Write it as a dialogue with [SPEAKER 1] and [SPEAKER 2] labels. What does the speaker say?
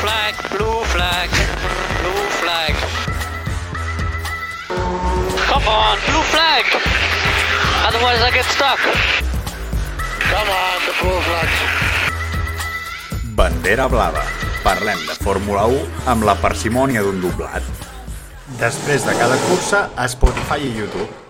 [SPEAKER 1] flag, blue flag, blue flag. Come on, blue flag! Otherwise I get stuck. Come on, the blue flag.
[SPEAKER 2] Bandera blava. Parlem de Fórmula 1 amb la parsimònia d'un doblat. Després de cada cursa a Spotify i YouTube.